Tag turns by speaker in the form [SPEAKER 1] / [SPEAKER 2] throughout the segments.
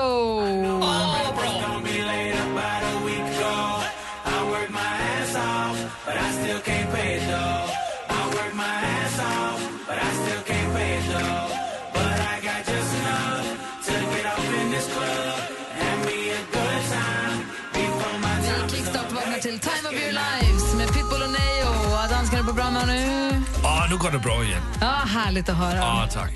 [SPEAKER 1] Vi kickstart vaknar till Time of your lives med Pitbull och Neyo. Ja, Dansken är på bra humör nu.
[SPEAKER 2] Ja, nu går det bra igen.
[SPEAKER 1] Ja, härligt att höra.
[SPEAKER 2] Ja, tack.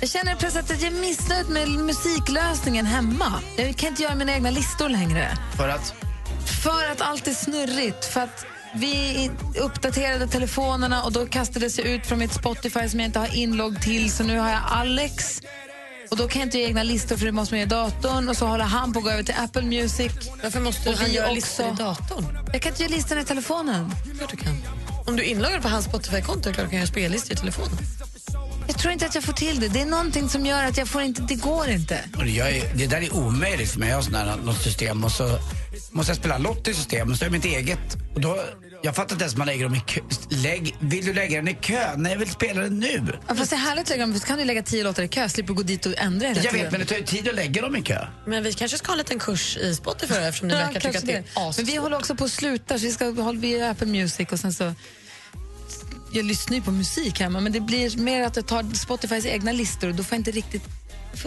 [SPEAKER 1] Jag känner precis att jag är missnöjd med musiklösningen hemma. Jag kan inte göra mina egna listor längre.
[SPEAKER 3] För att?
[SPEAKER 1] För att allt är snurrigt. För att vi uppdaterade telefonerna och då kastades jag ut från mitt Spotify som jag inte har inlogg till. Så nu har jag Alex. Och då kan jag inte göra egna listor för det måste man göra i datorn. Och så håller han på att gå över till Apple Music.
[SPEAKER 4] Varför måste
[SPEAKER 1] Och
[SPEAKER 4] han
[SPEAKER 1] vi
[SPEAKER 4] göra
[SPEAKER 1] också.
[SPEAKER 4] listor i datorn?
[SPEAKER 1] Jag kan inte göra listorna i telefonen.
[SPEAKER 4] Klart du kan. Om du är inloggad på hans Spotify-konto är det klart du kan göra spellistor i telefonen.
[SPEAKER 1] Jag tror inte att jag får till det. Det är någonting som gör att jag får inte... Det går inte.
[SPEAKER 3] Och det Jag är, det där är omöjligt för mig. Jag har sån här, något system och så måste jag spela en lott i systemet. Så är mitt eget. Och då, jag fattar inte ens man lägger dem i kö. Lägg, vill du lägga den i kö? Nej, jag vill spela den nu.
[SPEAKER 1] Ja, fast det är härligt att lägga dem, för så kan du lägga tio låtar i kö, slipper gå dit och ändra hela
[SPEAKER 3] Jag
[SPEAKER 1] tiden.
[SPEAKER 3] vet, men det tar ju tid att lägga dem i kö.
[SPEAKER 4] Men vi kanske ska ha en liten kurs i Spotify då, eftersom ni
[SPEAKER 1] Ja,
[SPEAKER 4] verkar tycka att
[SPEAKER 1] kanske
[SPEAKER 4] det är
[SPEAKER 1] det. Men vi håller också på att sluta, så vi ska hålla vi gör Apple Music och sen så... Jag lyssnar ju på musik hemma, men det blir mer att jag tar Spotifys egna listor och då får jag inte riktigt...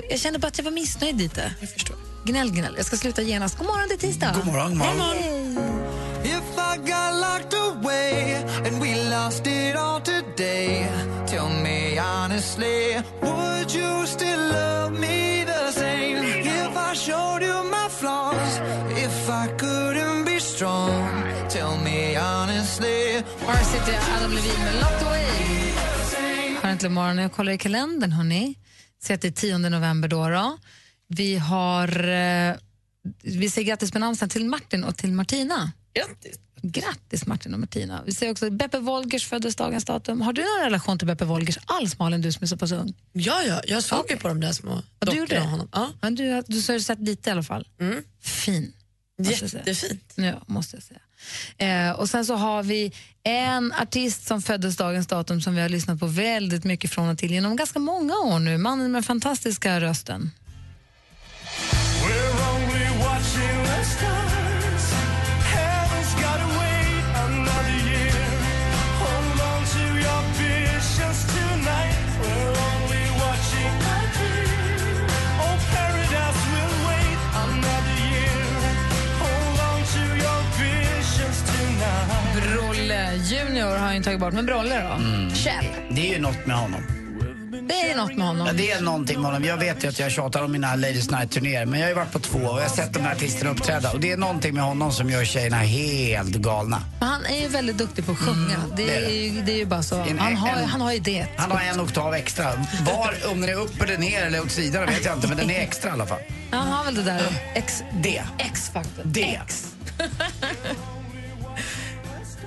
[SPEAKER 1] Jag känner bara att jag var missnöjd lite.
[SPEAKER 4] Jag förstår.
[SPEAKER 1] Gnäll, gnäll. Jag ska sluta genast. God morgon, det är tisdag.
[SPEAKER 3] God morgon, god morgon.
[SPEAKER 1] Hej.
[SPEAKER 5] If I got locked away and we lost it all today, tell me honestly, would you still love me the same? If I showed you my flaws, if I couldn't be strong, tell me honestly.
[SPEAKER 1] Här sitter jag, Adam Levin med Locked Away. Har äntligen morgon. Jag kollar i kalendern, hörni. Ser att det är 10 november då. då. Vi har... Eh, vi säger grattis på namnsdagen till Martin och till Martina.
[SPEAKER 4] Grattis!
[SPEAKER 1] Grattis Martin och Martina. Vi säger också Beppe Wolgers föddes dagens datum. Har du någon relation till Beppe Wolgers alls, Malin, du som är så pass ung?
[SPEAKER 4] Ja, ja, jag såg ju på de där små
[SPEAKER 1] Ja, du gjorde
[SPEAKER 4] dockorna av
[SPEAKER 1] det?
[SPEAKER 4] honom. Ja, Mm.
[SPEAKER 1] Men du, har- du har sett lite i alla fall. Fin. måste jag säga.
[SPEAKER 4] jättefint.
[SPEAKER 1] Ja, måste jag säga. Eh, och sen så har vi en artist som föddes dagens datum som vi har lyssnat på väldigt mycket från och till genom ganska många år nu. Mannen med den fantastiska rösten. Brolle Junior har jag inte tagit bort, men Brolle då?
[SPEAKER 3] Mm.
[SPEAKER 1] Kjell.
[SPEAKER 3] Det är ju något med honom.
[SPEAKER 1] Det är något med honom.
[SPEAKER 3] Ja, det är någonting med honom. Jag vet ju att jag tjatar om mina Ladies Night-turnéer, men jag har ju varit på två och jag har sett de här artisterna uppträda. Och det är någonting med honom som gör tjejerna helt galna.
[SPEAKER 1] Men han är ju väldigt duktig på att sjunga. det,
[SPEAKER 3] Mm. det
[SPEAKER 1] är
[SPEAKER 3] är det.
[SPEAKER 1] Ju, det är ju bara så.
[SPEAKER 3] En-
[SPEAKER 1] Han har,
[SPEAKER 3] en-
[SPEAKER 1] han har ju det.
[SPEAKER 3] Han har en oktav extra. Var, om den är upp eller ner eller åt sidan vet jag inte, men den är extra i alla fall.
[SPEAKER 1] Han har väl det där X...
[SPEAKER 3] Det.
[SPEAKER 1] X-faktorn.
[SPEAKER 3] Det.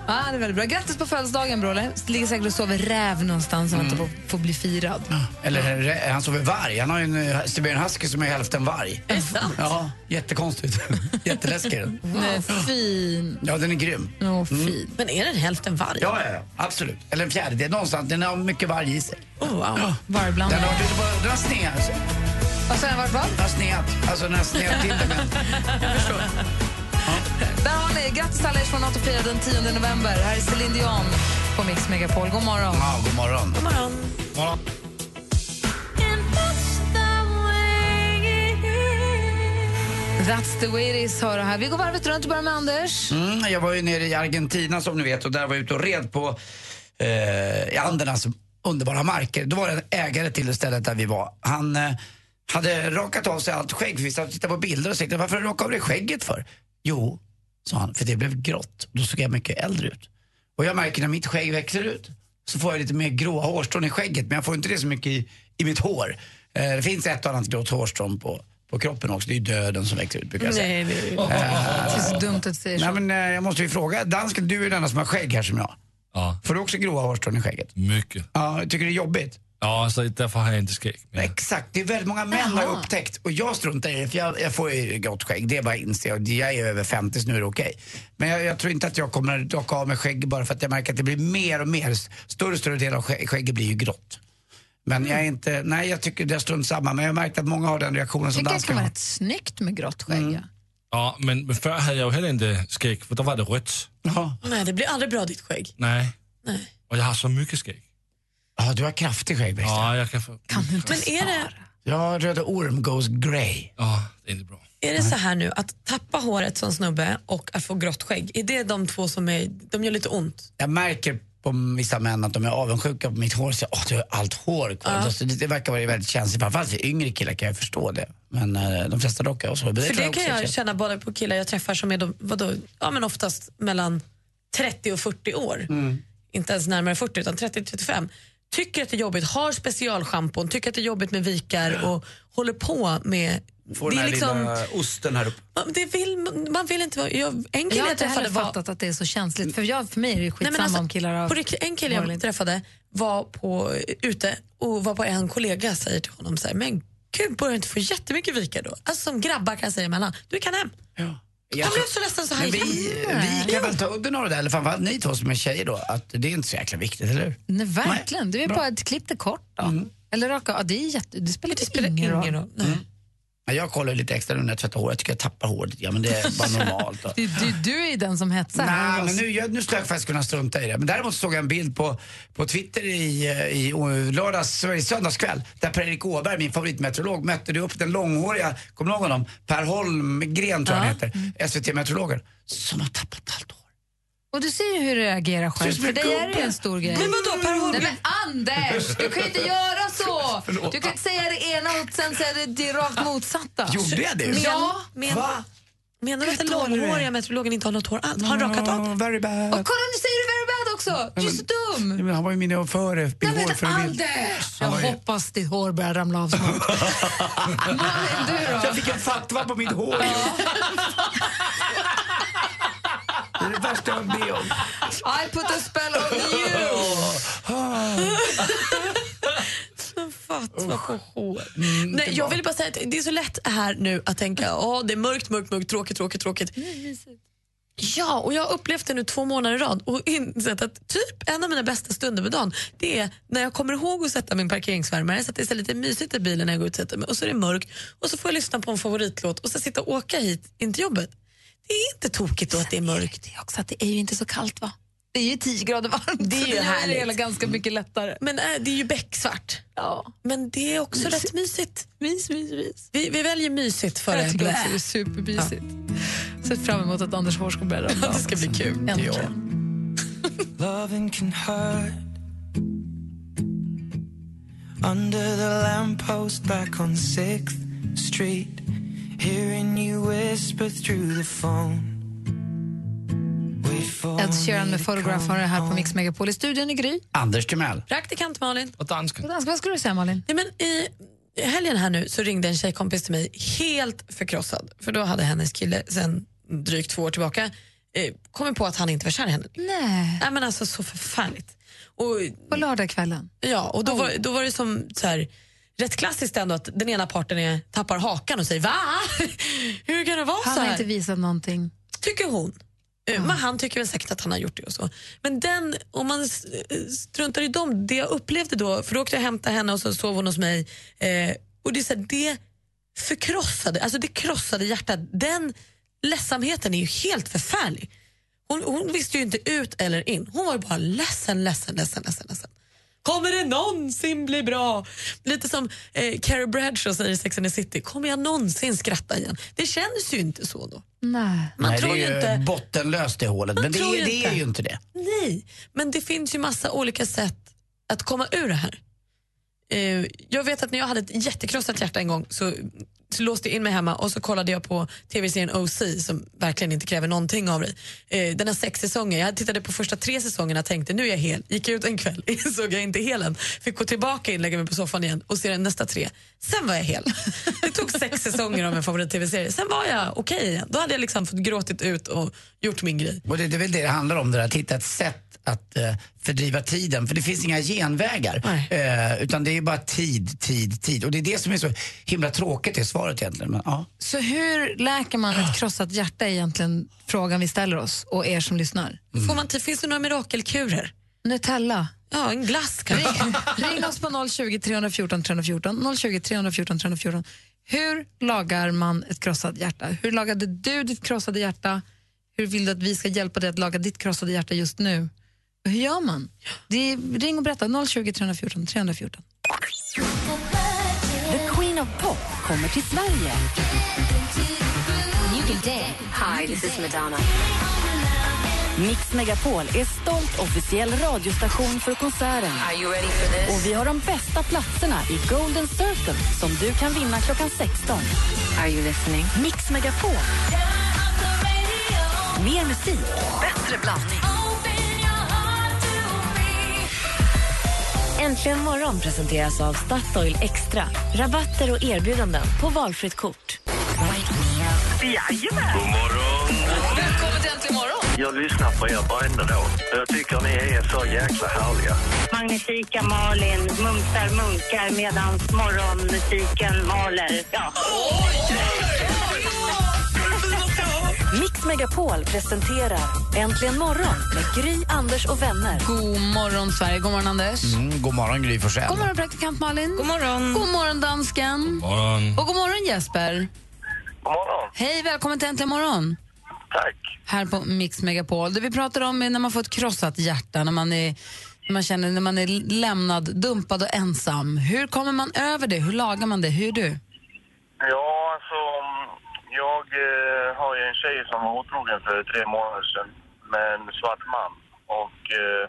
[SPEAKER 1] Ja, det är väldigt bra. Grattis på födelsedagen, Brolle. Ligger säkert och sover räv någonstans
[SPEAKER 3] Mm.
[SPEAKER 1] och väntar på att få bli firad.
[SPEAKER 3] Eller en re- han sover varg. Han har ju en eh, Siberian husky som är hälften varg. Är sant? Ja, jättekonstigt. Jätteläskig är den.
[SPEAKER 1] Den är fin.
[SPEAKER 3] Ja, den är grym.
[SPEAKER 1] Åh, fin.
[SPEAKER 4] Men är den hälften varg?
[SPEAKER 3] Ja, ja, ja. Absolut. Eller en fjärdedel någonstans. Den har mycket varg i sig.
[SPEAKER 4] Oh, wow.
[SPEAKER 3] Den
[SPEAKER 1] Varblandad.
[SPEAKER 3] har, den har, den har sneat.
[SPEAKER 1] Vad sa jag? Vart var?
[SPEAKER 3] Den har sneat. Alltså den har sneat till det. men-
[SPEAKER 1] Där har ni. Grattis alla er från 84 den 10 november. Här är Céline Dion på Mix Megapol. God morgon.
[SPEAKER 3] Ja, god morgon.
[SPEAKER 4] God morgon.
[SPEAKER 3] morgon.
[SPEAKER 1] That's the way it is, hör här. Vi går varvet runt och börjar med Anders.
[SPEAKER 3] Mm, jag var ju nere i Argentina som ni vet och där var jag ute och red på eh, i Andernas underbara marker. Då var det en ägare till det stället där vi var. Han eh, hade rakat av sig allt skägg. För vi satt och tittade på bilder och tänkte, varför har du rakat av dig skägget för? Jo, sa han, för det blev grått. Då såg jag mycket äldre ut. Och jag märker när mitt skägg växer ut så får jag lite mer gråa hårstrån i skägget. Men jag får inte det så mycket i, i mitt hår. Eh, det finns ett och annat grått hårstrån på, på kroppen också. Det är ju döden som växer ut brukar jag
[SPEAKER 4] Nej,
[SPEAKER 3] säga.
[SPEAKER 4] det är
[SPEAKER 1] Det är så dumt att säga
[SPEAKER 3] Nej,
[SPEAKER 1] så.
[SPEAKER 3] men, eh, jag måste ju fråga, dansken, du är den enda som har skägg här som jag.
[SPEAKER 2] Ja,
[SPEAKER 3] Får du också gråa hårstrån i skägget?
[SPEAKER 2] mycket.
[SPEAKER 3] Ja, jag tycker det är jobbigt.
[SPEAKER 2] Ja, så därför har jag inte skägg. Men
[SPEAKER 3] Exakt, det är väldigt många män har upptäckt och jag struntar i det för jag, jag får ju grått skägg, det är bara att inse. Och Jag är över 50 så nu är det okej. Men jag, jag tror inte att jag kommer att docka av mig skägg bara för att jag märker att det blir mer och mer, större och större del av skä- skägget blir ju grått. Men jag är inte, nej jag tycker det är strunt samma men jag har märkt att många har den reaktionen som
[SPEAKER 1] tycker det kan
[SPEAKER 3] danskarna
[SPEAKER 1] vara
[SPEAKER 3] har.
[SPEAKER 1] rätt snyggt med grått skägg. ja.
[SPEAKER 2] Ja, men, men förr hade jag ju heller inte skägg, för då var det rött.
[SPEAKER 3] Ja.
[SPEAKER 4] Nej, det blir aldrig bra ditt skägg.
[SPEAKER 2] Nej.
[SPEAKER 4] Nej.
[SPEAKER 2] Och jag har så mycket skägg.
[SPEAKER 3] ja, du har kraftig skäggväxt. Ja.
[SPEAKER 2] Ja, jag kan få...
[SPEAKER 1] Kan du inte
[SPEAKER 4] Men är det,
[SPEAKER 3] ja, Röda Orm goes grey.
[SPEAKER 2] Ja, det är inte bra.
[SPEAKER 4] är det så här nu, att tappa håret som snubbe och att få grått skägg, är det de två som är, de gör lite ont?
[SPEAKER 3] jag märker på vissa män att de är avundsjuka på mitt hår. Så, åh, du har allt hår kvar. Alltså, det, det verkar vara väldigt känsligt. Framförallt för yngre killar kan jag förstå det. Men eh, de flesta dockar och så. Men
[SPEAKER 4] För
[SPEAKER 3] tror
[SPEAKER 4] det kan
[SPEAKER 3] också är
[SPEAKER 4] jag
[SPEAKER 3] känsligt.
[SPEAKER 4] känna både på killar jag träffar som är de, vadå, ja, men oftast mellan 30 och 40 år.
[SPEAKER 3] Mm.
[SPEAKER 4] Inte ens närmare 40 utan 30-35. Tycker att det är jobbigt, har specialschampon, tycker att det är jobbigt med vikar och håller på med...
[SPEAKER 3] Får
[SPEAKER 4] det
[SPEAKER 3] den
[SPEAKER 4] är
[SPEAKER 3] här
[SPEAKER 4] liksom,
[SPEAKER 3] lilla osten här uppe.
[SPEAKER 4] man, det vill, man vill inte vara... Jag, en kille
[SPEAKER 1] Jag har
[SPEAKER 4] jag
[SPEAKER 1] inte heller
[SPEAKER 4] träffade var... alltså,
[SPEAKER 1] fattat att det är så känsligt. För, jag, för mig är det skitsamma om killar har...
[SPEAKER 4] på rikt- en kille
[SPEAKER 1] Varligt.
[SPEAKER 4] jag träffade var på, eh, ute och var på en kollega säger till honom så här, men gud börjar du inte få jättemycket vika då? Alltså som grabbar kan säga emellan, du kan hem.
[SPEAKER 3] Jag
[SPEAKER 4] Han blev
[SPEAKER 3] tror-
[SPEAKER 4] så ledsen så han
[SPEAKER 3] Men vi,
[SPEAKER 4] gick hem.
[SPEAKER 3] vi kan väl ta udden av det där, eller framförallt ni två som är tjejer då, att det är inte så jäkla viktigt, eller hur?
[SPEAKER 1] Nej, verkligen. Du är
[SPEAKER 3] Bra. Mm.
[SPEAKER 1] bara ett klipp det kort. Då. Eller raka ja, det, är jätte, det spelar,
[SPEAKER 4] Det spelar
[SPEAKER 1] ingen roll. Mm.
[SPEAKER 4] ingen roll. Nej.
[SPEAKER 3] Men Jag kollar lite extra nu när jag tvättar håret, jag tycker jag tappar håret ja, men det är bara normalt. då.
[SPEAKER 1] Du, du, du är den som hetsar. här
[SPEAKER 3] Nej,
[SPEAKER 1] av
[SPEAKER 3] men
[SPEAKER 1] oss.
[SPEAKER 3] nu, jag, nu skulle jag faktiskt kunna strunta i det. Men däremot såg jag en bild på, på Twitter i, eh, i o- lördags, i söndagskväll där Per-Erik Åberg, min favoritmeteorolog, mötte du upp den långhåriga, kommer du ihåg honom? Per Holmgren tror jag han heter, SVT-meteorologen, som har tappat allt hår.
[SPEAKER 1] Och du ser ju hur du reagerar själv.
[SPEAKER 3] Syns
[SPEAKER 1] För
[SPEAKER 3] med
[SPEAKER 1] dig är det ju
[SPEAKER 3] gubbe.
[SPEAKER 1] en stor grej.
[SPEAKER 4] Men vadå Per
[SPEAKER 1] Nej,
[SPEAKER 4] Holmgren?
[SPEAKER 1] men Anders, du kan ju inte göra så!
[SPEAKER 3] Förlåt.
[SPEAKER 1] Du kan inte säga det ena och sen säga det, det rakt motsatta.
[SPEAKER 3] Gjorde jag det?
[SPEAKER 4] Men-
[SPEAKER 1] Ja,
[SPEAKER 4] men-
[SPEAKER 3] Va?
[SPEAKER 4] Menar du att den
[SPEAKER 3] Hur dålig du är.
[SPEAKER 4] långhåriga meteorologen inte har något hår alls? Har han rakat av?
[SPEAKER 3] Oh, very bad.
[SPEAKER 1] Och kolla, nu säger du very bad också! Du är så
[SPEAKER 3] Ja,
[SPEAKER 1] dum!
[SPEAKER 3] men han var ju min före, min
[SPEAKER 1] Nej, men
[SPEAKER 3] hårförebild.
[SPEAKER 1] Anders! Jag
[SPEAKER 3] Han var ju-
[SPEAKER 1] hoppas ditt hår börjar ramla av snart. Malin, du då?
[SPEAKER 3] Jag fick en fatwa på mitt hår. Det är det värsta jag har med om.
[SPEAKER 1] I put a spell on you!
[SPEAKER 4] Fatwa på hår. Nej, jag vill bara säga att det är så lätt här nu att tänka åh det är mörkt, mörkt, mörkt, tråkigt, tråkigt, tråkigt. Ja, och jag har upplevt det nu två månader i rad och insett att typ en av mina bästa stunder med dagen det är när jag kommer ihåg att sätta min parkeringsvärmare så att det är så lite mysigt i bilen när jag går ut och sätter mig och så är det mörkt och så får jag lyssna på en favoritlåt och så sitta och åka hit in till jobbet. Det är inte tokigt då att det är mörkt.
[SPEAKER 1] Det är också att det är ju inte så kallt va? Det är ju 10 grader varmt.
[SPEAKER 4] Det är
[SPEAKER 1] så
[SPEAKER 4] ju
[SPEAKER 1] gör
[SPEAKER 4] härligt.
[SPEAKER 1] Det hela ganska mycket lättare.
[SPEAKER 4] Men äh, det är ju becksvart.
[SPEAKER 1] Ja.
[SPEAKER 4] Men det är också rätt mysigt. Mys, mys, mys. Vi, vi väljer mysigt för
[SPEAKER 1] Jag tycker
[SPEAKER 4] Blä.
[SPEAKER 1] också det är supermysigt. Sett fram emot att Anders hår ska börja ramla av.
[SPEAKER 4] Det ska bli kul.
[SPEAKER 1] Äntligen.
[SPEAKER 5] Loving can hurt. Under the lamppost back on 6th Street, hearing you whisper through the phone. Wait for
[SPEAKER 1] Ed Sheeran
[SPEAKER 5] me
[SPEAKER 1] med
[SPEAKER 5] to
[SPEAKER 1] Photograph
[SPEAKER 5] come
[SPEAKER 1] har det här på
[SPEAKER 5] home.
[SPEAKER 1] Mix Megapol. I studion i Gry.
[SPEAKER 3] Anders Timell.
[SPEAKER 4] Praktikant Malin.
[SPEAKER 2] Och dansken.
[SPEAKER 1] Dansk, Vad skulle du säga Malin?
[SPEAKER 4] Nej, men I helgen här nu så ringde en tjejkompis till mig helt förkrossad. För då hade hennes kille sen drygt två år tillbaka eh, kommit på att han inte var kär i henne.
[SPEAKER 1] Nej.
[SPEAKER 4] Nej men alltså så förfärligt. Och,
[SPEAKER 1] På
[SPEAKER 6] Mm.
[SPEAKER 1] lördagskvällen.
[SPEAKER 4] ja, och då, var, då var det som så här, rätt klassiskt ändå att den ena parten är, tappar hakan och säger va? Hur kan det vara så
[SPEAKER 1] Han har
[SPEAKER 4] här?
[SPEAKER 1] inte visat någonting.
[SPEAKER 4] tycker hon. Eh, Men han tycker väl säkert att han har gjort det och så. Men den, om man s- eh, struntar i dem, det jag upplevde då, för då åkte jag hämta henne och så sov hon hos mig. Eh, och det, är så här, det förkrossade, alltså det krossade hjärtat. Den ledsamheten är ju helt förfärlig. Hon, hon visste ju inte ut eller in. Hon var ju bara ledsen, ledsen, ledsen, ledsen. ledsen. Kommer det någonsin bli bra? Lite som eh, Carrie Bradshaw säger i Sex and the City. Kommer jag någonsin skratta igen? Det känns ju inte så då.
[SPEAKER 1] Nej.
[SPEAKER 4] Man
[SPEAKER 3] Nej,
[SPEAKER 4] tror
[SPEAKER 3] det är
[SPEAKER 4] ju
[SPEAKER 3] ju
[SPEAKER 4] inte...
[SPEAKER 3] bottenlöst det hålet, men det,
[SPEAKER 4] tror ju
[SPEAKER 3] är- det
[SPEAKER 4] inte.
[SPEAKER 3] är ju inte det.
[SPEAKER 4] Nej, men det finns ju massa olika sätt att komma ur det här. eh, jag vet att när jag hade ett jättekrossat hjärta en gång så, så låste jag in mig hemma och så kollade jag på tv-serien OC som verkligen inte kräver någonting av dig. Eh, den har sex säsonger. Jag tittade på första tre säsongerna och tänkte nu är jag hel. Gick ut en kväll, insåg jag inte är hel än. Fick gå tillbaka in, lägga mig på soffan igen och se den nästa tre. Sen var jag hel. Det tog sex säsonger av min favorit-tv-serie. Sen var jag okej igen. Då hade jag liksom fått gråtit ut och gjort min grej.
[SPEAKER 3] Och det, det är väl det det handlar om, det där, att hitta ett sätt att eh, fördriva tiden. För det finns inga genvägar.
[SPEAKER 4] Nej.
[SPEAKER 3] Eh, utan det är bara tid, tid, tid. Och det är det som är så himla tråkigt i svaret egentligen. Men, ja.
[SPEAKER 1] Så hur läker man ett krossat hjärta är egentligen frågan vi ställer oss och er som lyssnar.
[SPEAKER 4] Mm. Får man inte- finns det några mirakelkurer?
[SPEAKER 1] Nutella.
[SPEAKER 4] Ja, en glass kanske.
[SPEAKER 1] Ring, ring oss på 020 314 314. 020 314 314. Hur lagar man ett krossat hjärta? Hur lagade du ditt krossade hjärta? Hur vill du att vi ska hjälpa dig att laga ditt krossade hjärta just nu? Och Hur gör man? Det är, ring och berätta. 020 314 314.
[SPEAKER 6] The Queen of Pop kommer till Sverige. Hi, this is Madonna. Mix Megapol är stolt officiell radiostation för konserten. Och vi har de bästa platserna i Golden Circle som du kan vinna klockan 16. Are you listening? Mix Megapol. Mer musik, bättre blandning. Äntligen morgon presenteras av Statoil Extra. Rabatter och erbjudanden på valfritt kort.
[SPEAKER 1] Välkommen till Äntligen morgon!
[SPEAKER 7] Jag lyssnar på er varenda dag. Jag tycker ni är så jäkla härliga.
[SPEAKER 8] Magnifika Malin mumsar munkar medan morgonmusiken maler. Ja.
[SPEAKER 6] Mix Megapol presenterar Äntligen morgon med Gry, Anders och vänner.
[SPEAKER 1] God morgon, Sverige. God morgon, Anders.
[SPEAKER 3] Mm, god morgon Gry Forssell.
[SPEAKER 1] God morgon, praktikant Malin. God morgon, god morgon dansken.
[SPEAKER 2] Morgon.
[SPEAKER 1] Och god morgon, Jesper.
[SPEAKER 7] God morgon.
[SPEAKER 1] Hej, välkommen till Äntligen morgon.
[SPEAKER 7] Tack.
[SPEAKER 1] här på Mix Megapol. Det vi pratar om är när man får ett krossat hjärta, när man, är, när man känner när man är lämnad, dumpad och ensam. Hur kommer man över det? Hur lagar man det? Hur du?
[SPEAKER 7] Ja, alltså... Jag eh, har ju en tjej som var otrogen för tre månader sedan med en svart man. Och eh,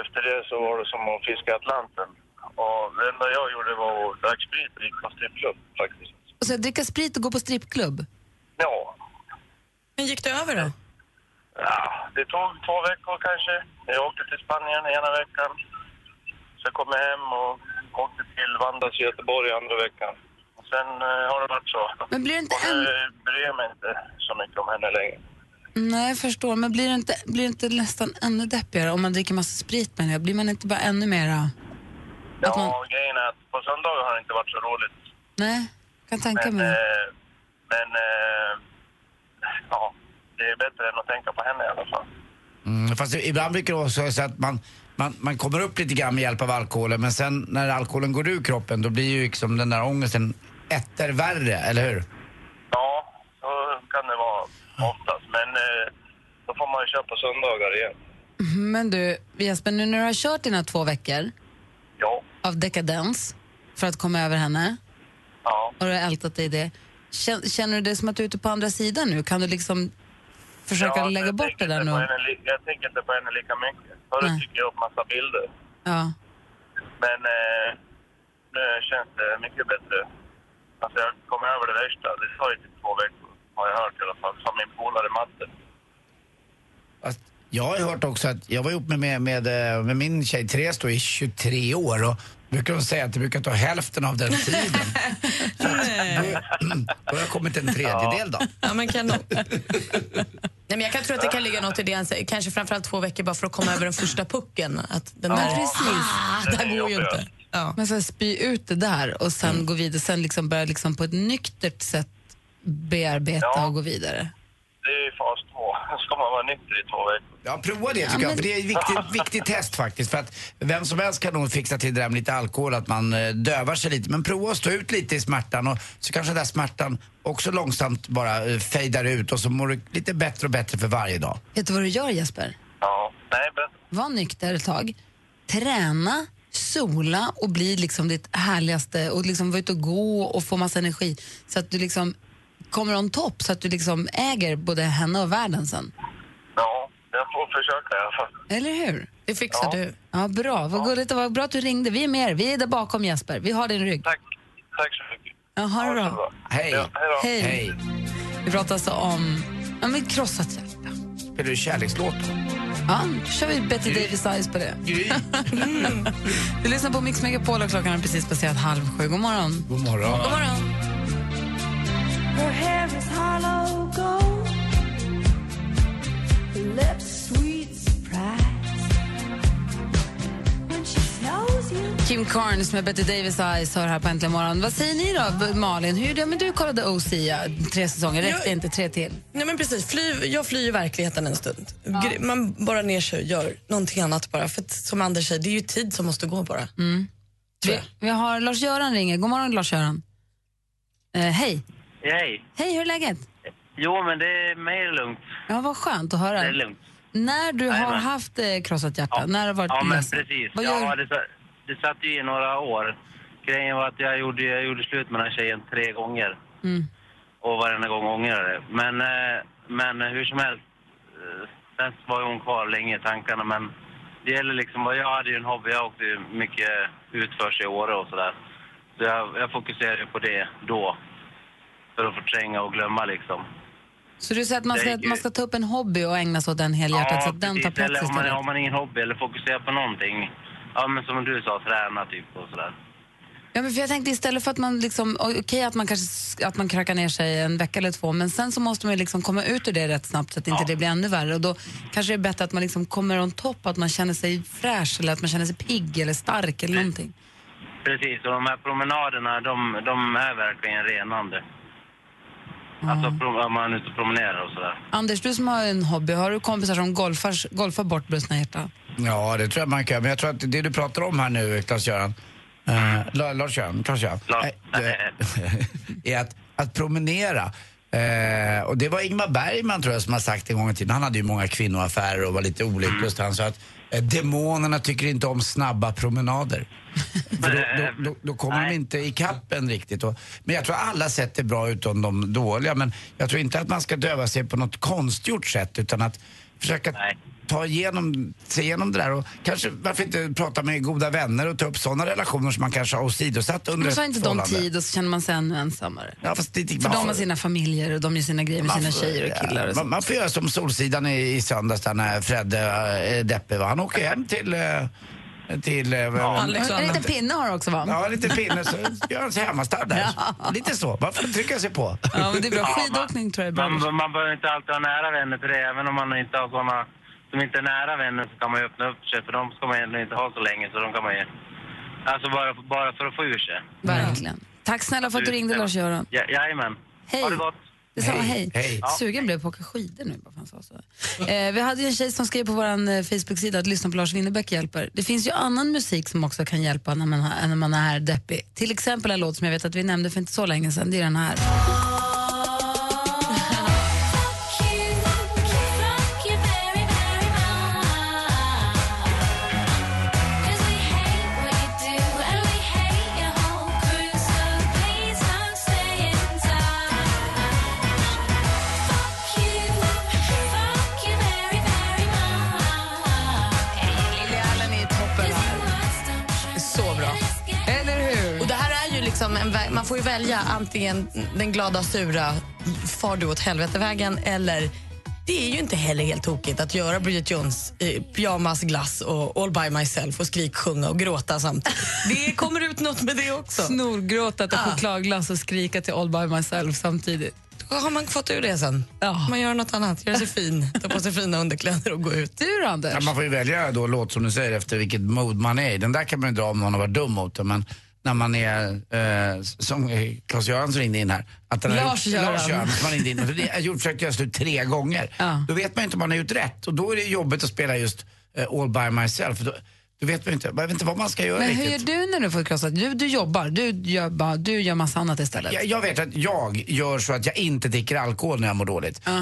[SPEAKER 7] efter det så var det som att fiska Atlanten. Och det enda jag gjorde var att dricka sprit och gick på strippklubb faktiskt.
[SPEAKER 1] Och så dricka sprit och gå på strippklubb.
[SPEAKER 7] Ja.
[SPEAKER 4] Men gick det över då?
[SPEAKER 7] ja, det tog två veckor kanske. Jag åkte till Spanien ena veckan. Sen kom jag hem och åkte till Vandas i Göteborg andra veckan. Och sen eh, har det varit så.
[SPEAKER 1] Men blir det inte
[SPEAKER 7] Och nu
[SPEAKER 1] en...
[SPEAKER 7] bryr jag mig inte så mycket om henne längre.
[SPEAKER 1] Nej, jag förstår. Men blir det inte, blir det inte nästan ännu deppigare om man dricker massa sprit med det? Blir man inte bara ännu mera...
[SPEAKER 7] Ja,
[SPEAKER 1] Att man-
[SPEAKER 7] grejen är att på söndagar har det inte varit så roligt.
[SPEAKER 1] Nej, kan tänka
[SPEAKER 7] Men,
[SPEAKER 1] mig. det.
[SPEAKER 7] eh, men eh, ja, det är bättre än att tänka på henne i alla fall.
[SPEAKER 3] Mm, fast det- ibland brukar det också vara så att man, man, man kommer upp lite grann med hjälp av alkoholen men sen när alkoholen går ur kroppen då blir ju liksom den där ångesten etter värre, eller hur?
[SPEAKER 7] Ja, så kan det vara oftast. Men eh, då får man ju köra på söndagar igen.
[SPEAKER 1] Men du, Jesper, nu när du har kört dina två veckor
[SPEAKER 7] Ja,
[SPEAKER 1] av dekadens för att komma över henne,
[SPEAKER 7] ja.
[SPEAKER 1] och du har ältat dig i det. Kän- Känner du det som att du är ute på andra sidan nu? Kan du liksom försöka
[SPEAKER 7] ja,
[SPEAKER 1] lägga
[SPEAKER 7] jag
[SPEAKER 1] bort det
[SPEAKER 7] tänker
[SPEAKER 1] där
[SPEAKER 7] inte på
[SPEAKER 1] nu?
[SPEAKER 7] henne li- Jag tänker inte på henne lika mycket. Förut
[SPEAKER 1] Nej.
[SPEAKER 7] tycker jag upp massa bilder.
[SPEAKER 1] Ja.
[SPEAKER 7] Men eh, nu känns det mycket bättre. Alltså jag kom över det värsta. Det tar ju typ två veckor, har jag hört i alla fall. Som min polare Matte.
[SPEAKER 3] Fast jag har ju hört också att jag var ihop med, med, med, eh, med min tjej Therese då i 23 år och brukar hon säga att det brukar ta hälften av den tiden. Nej. Då har jag kommit en tredjedel då.
[SPEAKER 4] Ja, men kan nog. Nej, men jag kan tro att det kan ligga något i det. han säger. Kanske framförallt två veckor bara för att komma över den första pucken. Att den där,
[SPEAKER 1] precis.
[SPEAKER 4] Ah, det här går ju inte. Ja. Mm.
[SPEAKER 1] Men sen spy ut det där och sen gå vidare. Sen liksom börja liksom på ett nyktert sätt bearbeta
[SPEAKER 7] Ja.
[SPEAKER 1] och gå vidare.
[SPEAKER 7] Det är ju fas två. Ska man vara nykter i två veckor?
[SPEAKER 3] Ja, prova det tycker jag. För det är ett viktigt, viktigt test faktiskt. För att vem som helst kan nog fixa till det där med lite alkohol, att man eh, dövar sig lite. Men prova att stå ut lite i smärtan och så kanske den där smärtan också långsamt bara eh, fejdar ut och så mår du lite bättre och bättre för varje dag.
[SPEAKER 1] Vet du vad du gör Jesper?
[SPEAKER 7] Ja. Nej, men
[SPEAKER 1] Var nykter ett tag. Träna, sola och bli liksom ditt härligaste och liksom vara ute och gå och få massa energi så att du liksom kommer on topp så att du liksom äger både henne och världen sen.
[SPEAKER 7] ja, det Jag får försöka i alla fall.
[SPEAKER 1] Eller hur?
[SPEAKER 4] Det fixar du.
[SPEAKER 1] Ja, bra. Vad gulligt och vad bra att du ringde. Vi är med er. Vi är där bakom Jesper. Vi har din rygg.
[SPEAKER 7] Tack. Tack så mycket.
[SPEAKER 1] Ja, ha det bra.
[SPEAKER 3] Hej.
[SPEAKER 1] Hej. Vi pratar alltså om ja, men krossat hjärta.
[SPEAKER 3] Spelar du kärlekslåt?
[SPEAKER 1] Ja, då kör vi Betty Davis Eyes på det. du lyssnar på Mix Megapol och klockan har precis passerat halv sju. God morgon.
[SPEAKER 3] God morgon.
[SPEAKER 1] God morgon.
[SPEAKER 9] Her hair is hollow gold. Her lips sweet surprise. When she knows you.
[SPEAKER 1] Kim Carnes med Betty Davis Eyes hör här på Äntligen morgon. Vad säger ni då, Malin? Hur är det? Men du kollade OC, ja, tre säsonger. Räckte
[SPEAKER 4] Jag-
[SPEAKER 1] inte tre till?
[SPEAKER 4] Nej men precis, fly, jag flyr ju verkligheten en stund. Gre- Man bara ner sig och gör någonting annat bara. För att, som Anders säger, det är ju tid som måste gå bara.
[SPEAKER 1] Mm. Vi, vi har Lars-Göran ringer. God morgon, Lars-Göran. Eh, hej.
[SPEAKER 10] Hej.
[SPEAKER 1] Hej, hur är läget?
[SPEAKER 10] Jo, men det är mer lugnt.
[SPEAKER 1] Ja, vad skönt att
[SPEAKER 10] Det
[SPEAKER 1] höra.
[SPEAKER 10] är lugnt.
[SPEAKER 1] När du har
[SPEAKER 10] Jajamän.
[SPEAKER 1] haft eh, krossat hjärta, när har du varit
[SPEAKER 10] Ja, men
[SPEAKER 1] ledsen?
[SPEAKER 10] precis.
[SPEAKER 1] Vad gör
[SPEAKER 10] Ja,
[SPEAKER 1] du?
[SPEAKER 10] det, sa- det satt ju i några år. Grejen var att jag gjorde, jag gjorde slut med den här tjejen tre gånger.
[SPEAKER 1] Mm.
[SPEAKER 10] Och varenda gång ångrade jag det. Men, eh, men eh, hur som helst, eh, sen var ju hon kvar länge i tankarna. Men det gäller liksom, vad- jag hade ju en hobby. Jag åkte ju mycket utförs i Åre och sådär. Så jag, jag fokuserade ju på det då. För att förtränga och glömma liksom.
[SPEAKER 1] Så du säger att man
[SPEAKER 10] Det
[SPEAKER 1] ska,
[SPEAKER 10] är ju-
[SPEAKER 1] man ska ta upp en hobby och ägna sig åt den helhjärtat så att den tar
[SPEAKER 10] precis.
[SPEAKER 1] plats
[SPEAKER 10] eller om man,
[SPEAKER 1] istället?
[SPEAKER 10] om man ingen hobby eller fokuserar på någonting. Ja, men som du sa, träna typ och sådär.
[SPEAKER 1] Ja, men för jag tänkte istället för att man liksom, okej att man kanske s- att man krakar ner sig en vecka eller två, men sen så måste man ju liksom komma ut ur det rätt snabbt så att inte det blir ännu värre. Och då kanske det är bättre att man liksom kommer on top, att man känner sig fräsch eller att man känner sig pigg eller stark eller någonting.
[SPEAKER 10] Precis, och de här promenaderna, de, de är verkligen renande. Alltså pro- om man är ute och promenerar och sådär.
[SPEAKER 1] Anders, du som har en hobby, har du kompisar som golfar, golfar bort brustna hjärtan?
[SPEAKER 3] Ja, det tror jag man kan. Men jag tror att det du pratar om här nu, Klas-Göran, eh, La- Lars-Göran, Klas-Göran, eh, eh, är att, att promenera. Eh, och det var Ingmar Bergman tror jag som har sagt en gång i tiden. Han hade ju många kvinnoaffärer och var lite olycklig och så han sa att eh, demonerna tycker inte om snabba promenader. För då,
[SPEAKER 7] Ehm,
[SPEAKER 3] då, då, då kommer de inte i kappen riktigt. Och, men jag tror alla sätt är bra utom de dåliga. Men jag tror inte att man ska döva sig på något konstgjort sätt utan att försöka ta igenom, se igenom det där. Och kanske, varför inte prata med goda vänner och ta upp sådana relationer som man kanske har åsidosatt under
[SPEAKER 1] Men
[SPEAKER 3] ett
[SPEAKER 1] så har inte de
[SPEAKER 3] förhållande.
[SPEAKER 1] tid och så känner man sig ännu ensammare.
[SPEAKER 3] Ja, fast det,
[SPEAKER 1] För de har sina familjer och de gör sina grejer med
[SPEAKER 3] Man
[SPEAKER 1] sina
[SPEAKER 3] får-
[SPEAKER 1] tjejer och killar
[SPEAKER 3] ja,
[SPEAKER 1] och så.
[SPEAKER 3] man, man får göra som Solsidan i, i söndags där när Fredde eh, är deppig. Va? Han åker hem till... eh, till eh, vad-
[SPEAKER 1] En liten pinne har du också va?
[SPEAKER 3] Ja, en liten pinne så gör han sig hemmastad där. Lite så. Varför trycka sig på?
[SPEAKER 1] Ja, men det är bra.
[SPEAKER 10] Ja,
[SPEAKER 1] Skidåkning tror jag är bra.
[SPEAKER 10] Man, man behöver inte alltid ha nära vänner till det. Även om man inte har sådana som inte är nära vänner så kan man ju öppna upp sig. För de ska man egentligen inte ha så länge. Så de kan man ju... Alltså bara, bara för att få ur sig.
[SPEAKER 1] Verkligen. Tack snälla för att du ringde Lars-Göran.
[SPEAKER 10] Ja, jajamän.
[SPEAKER 1] Hej.
[SPEAKER 10] Ha det gott.
[SPEAKER 1] Detsamma, hej.
[SPEAKER 10] Hej.
[SPEAKER 1] Sugen blev jag på att åka skidor nu. Bara för han sa så. Eh, vi hade ju en tjej som skrev på vår Facebook-sida att lyssna på Lars Winnerbäck hjälper. Det finns ju annan musik som också kan hjälpa när man, har- när man är deppig. Till exempel en låt som jag vet att vi nämnde för inte så länge sedan. Det är den här.
[SPEAKER 4] Så bra.
[SPEAKER 1] Eller hur?
[SPEAKER 4] Och det här är ju liksom en vä- man får ju välja antingen den glada, sura, far du åt helvete-vägen eller det är ju inte heller helt tokigt att göra Bridget Jones eh, pyjamas, glass och all by myself och skriksjunga och gråta samtidigt. Det kommer ut något med det också.
[SPEAKER 1] Snorgråta, äta chokladglass och skrika till All by myself samtidigt.
[SPEAKER 4] Då har man fått ur det sen. Man gör något annat, gör sig fin, tar på sig fina underkläder och går ut.
[SPEAKER 1] Du då, Anders?
[SPEAKER 3] Ja, man får ju välja då låt som du säger efter vilket mood man är i. Den där kan man ju dra om någon har varit dum mot den, men när man är, eh, som eh, Claes-Göran som ringde in här. Att den har
[SPEAKER 1] Lars
[SPEAKER 3] gjort-
[SPEAKER 1] Göran.
[SPEAKER 3] Lars-Göran som han ringde in. med. Det har gjort, försökt göra slut tre gånger. Då vet man ju inte om man har gjort rätt och då är det jobbigt att spela just eh, All by myself. För Då, då vet man ju inte, man vet inte vad man ska göra
[SPEAKER 1] Men hur
[SPEAKER 3] riktigt.
[SPEAKER 1] gör du när du får krossat? Du, du jobbar, du gör, bara- du gör massa annat istället.
[SPEAKER 3] Jag, jag vet att jag gör så att jag inte dricker alkohol när jag mår dåligt. Eh,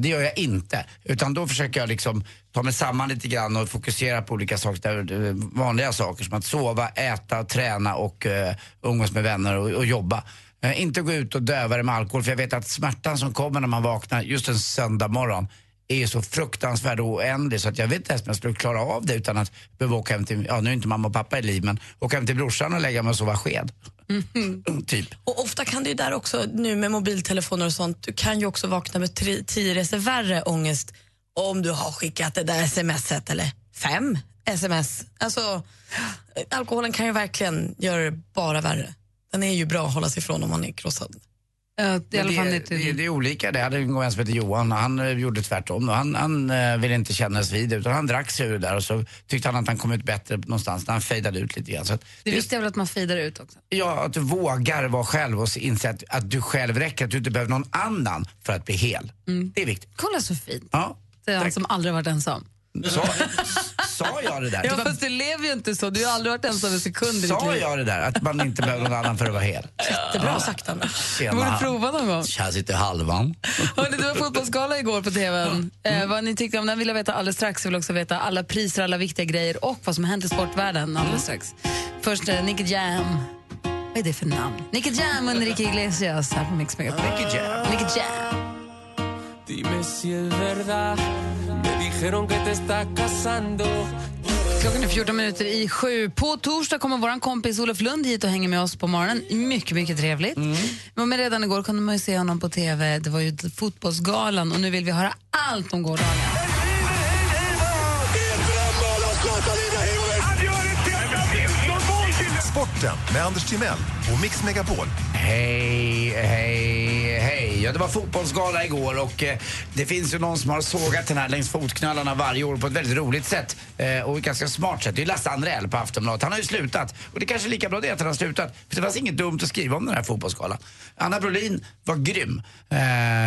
[SPEAKER 3] det gör jag inte. Utan då försöker jag liksom ta mig samman lite grann och fokusera på olika saker, där, eh, vanliga saker som att sova, äta, träna och eh, umgås med vänner och, och jobba. Eh, inte gå ut och döva det med alkohol för jag vet att smärtan som kommer när man vaknar just en söndag morgon är ju så fruktansvärd och oändlig så att jag vet inte ens om jag skulle klara av det utan att behöva åka hem till, ja nu är inte mamma och pappa i liv, men åka hem till brorsan och lägga mig och sova sked. Typ.
[SPEAKER 4] Och ofta kan det ju där också, nu med mobiltelefoner och sånt, du kan ju också vakna med tri- tio resor värre ångest om du har skickat det där smset eller fem sms. Alltså, eh, alkoholen kan ju verkligen göra det bara värre. Den är ju bra att hålla sig ifrån om man är krossad.
[SPEAKER 11] i alla fall
[SPEAKER 3] det,
[SPEAKER 11] inte-
[SPEAKER 3] det, det är olika. Det hade en gång en som hette Johan och han eh, gjorde tvärtom. Och Han, han eh, ville inte kännas vid det, utan han drack sig ur det där och så tyckte han att han kom ut bättre någonstans när han fejdade ut lite grann. Så att
[SPEAKER 1] Det viktiga är väl att man fejdar ut också.
[SPEAKER 3] Ja, att du vågar vara själv och inse att, att du själv räcker, att du inte behöver någon annan för att bli hel. Det är viktigt.
[SPEAKER 1] Kolla så fint.
[SPEAKER 3] Ja,
[SPEAKER 1] Det är Mm. han som aldrig varit ensam.
[SPEAKER 3] sa, sa jag det där? Typ
[SPEAKER 1] Ja, fast du lever ju inte så. Du har aldrig varit ensam en sekund i ditt
[SPEAKER 3] Sa
[SPEAKER 1] liv.
[SPEAKER 3] jag det där? Att man inte behöver någon annan för att vara hel?
[SPEAKER 1] Jättebra
[SPEAKER 4] sagt, Anders.
[SPEAKER 1] Du
[SPEAKER 3] Ah.
[SPEAKER 1] borde prova någon gång.
[SPEAKER 3] Här sitter halvan.
[SPEAKER 1] Hörrni, det var fotbollsgala igår på tvn. Eh, vad ni tyckte om den vill jag veta alldeles strax. Jag vill också veta alla priser, alla viktiga grejer och vad som har hänt i sportvärlden alldeles strax. Först eh, Nicky Jam. Vad är det för namn? Nicky Jam och Enrique Iglesias här på Mix Megapol.
[SPEAKER 3] Nicky Jam.
[SPEAKER 1] Nicky Jam.
[SPEAKER 12] Dime si es verdad, me dijeron que te está casando.
[SPEAKER 1] Klockan är 14 minuter i sju. På torsdag kommer vår kompis Olof Lund hit och hänger med oss på morgonen. Mycket, mycket trevligt.
[SPEAKER 4] Mm.
[SPEAKER 1] Men redan igår kunde man ju se honom på TV. Det var ju fotbollsgalan och nu vill vi höra allt om gårdagen.
[SPEAKER 10] Sporten med Anders Timell och Mix Megapol.
[SPEAKER 3] Hej, hej, hej. Ja, det var fotbollsgala igår och eh, det finns ju någon som har sågat den här längs fotknölarna varje år på ett väldigt roligt sätt eh, och ett ganska smart sätt. Det är Lasse Andrell på Aftonbladet. Han har ju slutat och det är kanske är lika bra det att han har slutat för det fanns inget dumt att skriva om den här fotbollsgalan. Anna Brolin var grym. Eh,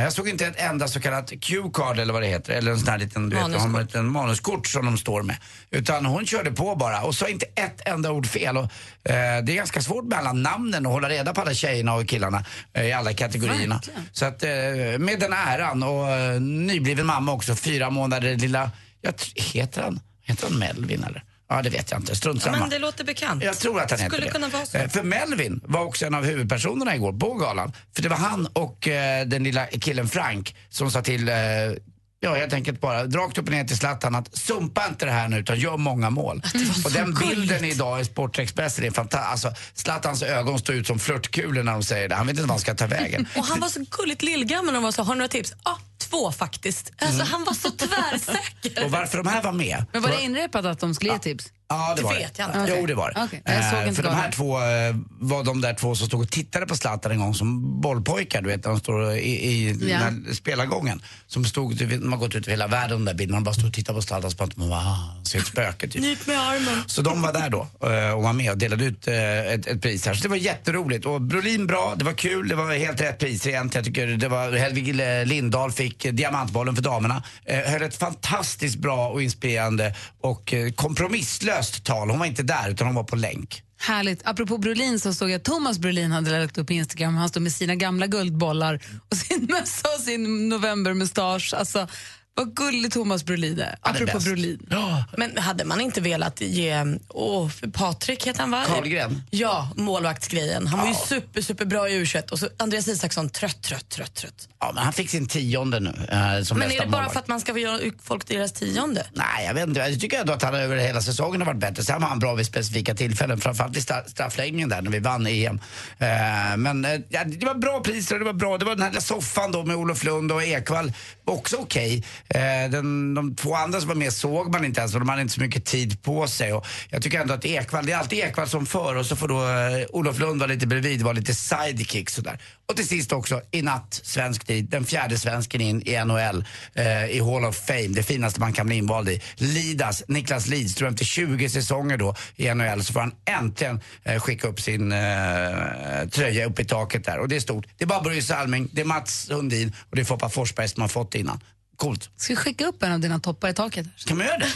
[SPEAKER 3] jag såg inte ett enda så kallat cue-card eller vad det heter eller en sån här liten, du vet, de har en liten manuskort som de står med. Utan hon körde på bara och sa inte ett enda ord fel. Och, eh, det är ganska svårt med alla namnen och hålla reda på alla tjejerna och killarna eh, i alla kategorierna. Så att, eh, med den äran och eh, nybliven mamma också, fyra månader lilla, jag, tr- heter han, heter han Melvin eller? Ja det vet jag inte, strunt
[SPEAKER 4] Ja,
[SPEAKER 3] samma.
[SPEAKER 4] men det låter bekant.
[SPEAKER 3] Jag tror att han heter
[SPEAKER 4] Skulle
[SPEAKER 3] det.
[SPEAKER 4] kunna vara så.
[SPEAKER 3] Eh, För Melvin var också en av huvudpersonerna igår på galan. För det var han och eh, den lilla killen Frank som sa till, eh, ja helt enkelt bara rakt upp och ner till Zlatan att sumpa inte det här nu utan gör många mål. Och den bilden idag i Sportexpressen är fantastisk. Alltså Zlatans ögon står ut som flörtkulor när de säger det. Han vet inte vad han ska ta vägen.
[SPEAKER 4] Och han var så gulligt lillgammal och var så, har du några tips? Ja, ah, två faktiskt. Alltså han var så tvärsäker.
[SPEAKER 3] Och varför de här var med?
[SPEAKER 1] Men var det inrepat att de skulle
[SPEAKER 4] Ah.
[SPEAKER 1] ge tips?
[SPEAKER 3] Ja, det var det.
[SPEAKER 1] Okej.
[SPEAKER 3] Jo, det var det.
[SPEAKER 1] Okej, Jag såg
[SPEAKER 3] Eh,
[SPEAKER 1] inte
[SPEAKER 3] För de
[SPEAKER 1] galan.
[SPEAKER 3] här två eh, var de där två som stod och tittade på Zlatan en gång som bollpojkar, du vet, när de står i, i
[SPEAKER 1] Ja.
[SPEAKER 3] den här spelargången. Som stod, du vet, de har gått ut över hela världen, de där bilderna. De bara stod och tittade på Zlatan och man bara, ah, han ser ett spöke typ.
[SPEAKER 4] Nyp med armen.
[SPEAKER 3] Så de var där då eh, och var med och delade ut eh, ett, ett pris här. Så det var jätteroligt. Och Brolin bra, det var kul, det var helt rätt priser egentligen. Jag tycker det var Helvig eh, Lindahl fick eh, diamantbollen för damerna. Eh, Höll ett fantastiskt bra och inspirerande och eh, kompromisslöst tal. Hon var inte där utan hon var på länk.
[SPEAKER 1] Härligt. Apropå Brolin så såg jag att Thomas Brolin hade lagt upp på Instagram. Han stod med sina gamla guldbollar och sin mössa och sin novembermustasch. Alltså, vad gullig Thomas Brolin är.
[SPEAKER 4] Ja, det är
[SPEAKER 1] Apropå
[SPEAKER 4] bäst.
[SPEAKER 1] Brolin.
[SPEAKER 4] Men hade man inte velat ge åh, för Patrik heter han va?
[SPEAKER 3] Karlgren.
[SPEAKER 4] Ja, målvaktsgrejen. Han var ju super, superbra i u och så Andreas Isaksson trött, trött, trött, trött.
[SPEAKER 3] Ja, men han fick sin tionde nu eh, som
[SPEAKER 4] men är
[SPEAKER 3] bästa
[SPEAKER 4] det bara
[SPEAKER 3] målvakt.
[SPEAKER 4] för att man ska få göra folk deras tionde?
[SPEAKER 3] Nej, jag vet inte. Jag tycker ändå att han över hela säsongen har varit bättre. Sen var han bra vid specifika tillfällen, framförallt i stra- straffläggningen där när vi vann EM. Eh, men eh, ja, det var bra priser och det var bra. Det var den här lilla soffan då med Olof Lund och Ekwall. Också okej. Eh, den- de två andra som var med såg man inte ens och de hade inte så mycket tid på sig. Och jag tycker ändå att Ekwall, det är alltid Ekwall som för och så får då eh, Olof Lund vara lite bredvid, vara lite sidekick sådär. Och till sist också, i natt, svensk tid, den fjärde svensken in i NHL, eh, i Hall of Fame, det finaste man kan bli invald i. Lidas, Niklas Lidström, efter 20 säsonger då i NHL så får han äntligen eh, skicka upp sin eh, tröja upp i taket där. Och det är stort. Det är bara Börje Salming, det är Mats Sundin och det är Foppa Forsberg som har fått det innan. Coolt.
[SPEAKER 1] Ska vi skicka upp en av dina toppar i taket?
[SPEAKER 3] Kan man göra det?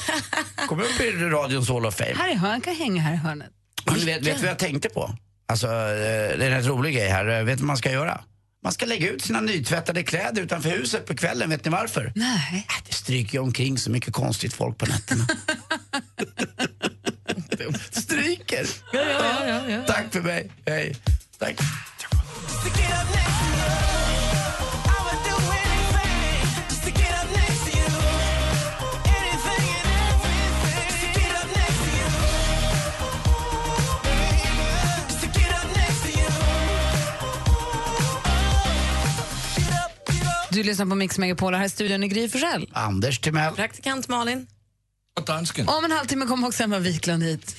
[SPEAKER 3] Kom upp i radions Hall of Fame.
[SPEAKER 1] Här i hörnet, han kan hänga här i hörnet.
[SPEAKER 3] Men vet, vet du vad jag tänkte på? Alltså, eh, det är en rätt rolig grej här. Eh, Vet du vad man ska göra? Man ska lägga ut sina nytvättade kläder utanför huset på kvällen. Vet ni varför? Äh,
[SPEAKER 1] Nej.
[SPEAKER 3] Det stryker ju omkring så mycket konstigt folk på nätterna. stryker!
[SPEAKER 13] Ja, ja, ja, ja.
[SPEAKER 3] Tack för mig. Hej. Tack.
[SPEAKER 13] Just to get up next to you.
[SPEAKER 1] Du lyssnar på Mix Megapol. Här i studion är Gry Forssell.
[SPEAKER 3] Anders Timell.
[SPEAKER 4] Praktikant Malin.
[SPEAKER 14] Och dansken.
[SPEAKER 1] Om en halvtimme kommer också Emma Wiklund hit.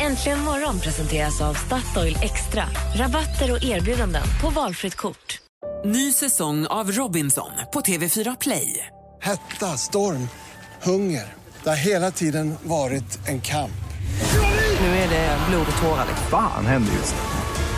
[SPEAKER 6] Äntligen morgon presenteras av Statoil Extra. Rabatter och erbjudanden på valfritt kort.
[SPEAKER 12] Ny säsong av Robinson på TV4 Play.
[SPEAKER 15] Hetta, storm, hunger. Det har hela tiden varit en kamp.
[SPEAKER 12] Nu är det blod och tårar. liksom.
[SPEAKER 10] Fan händer just nu.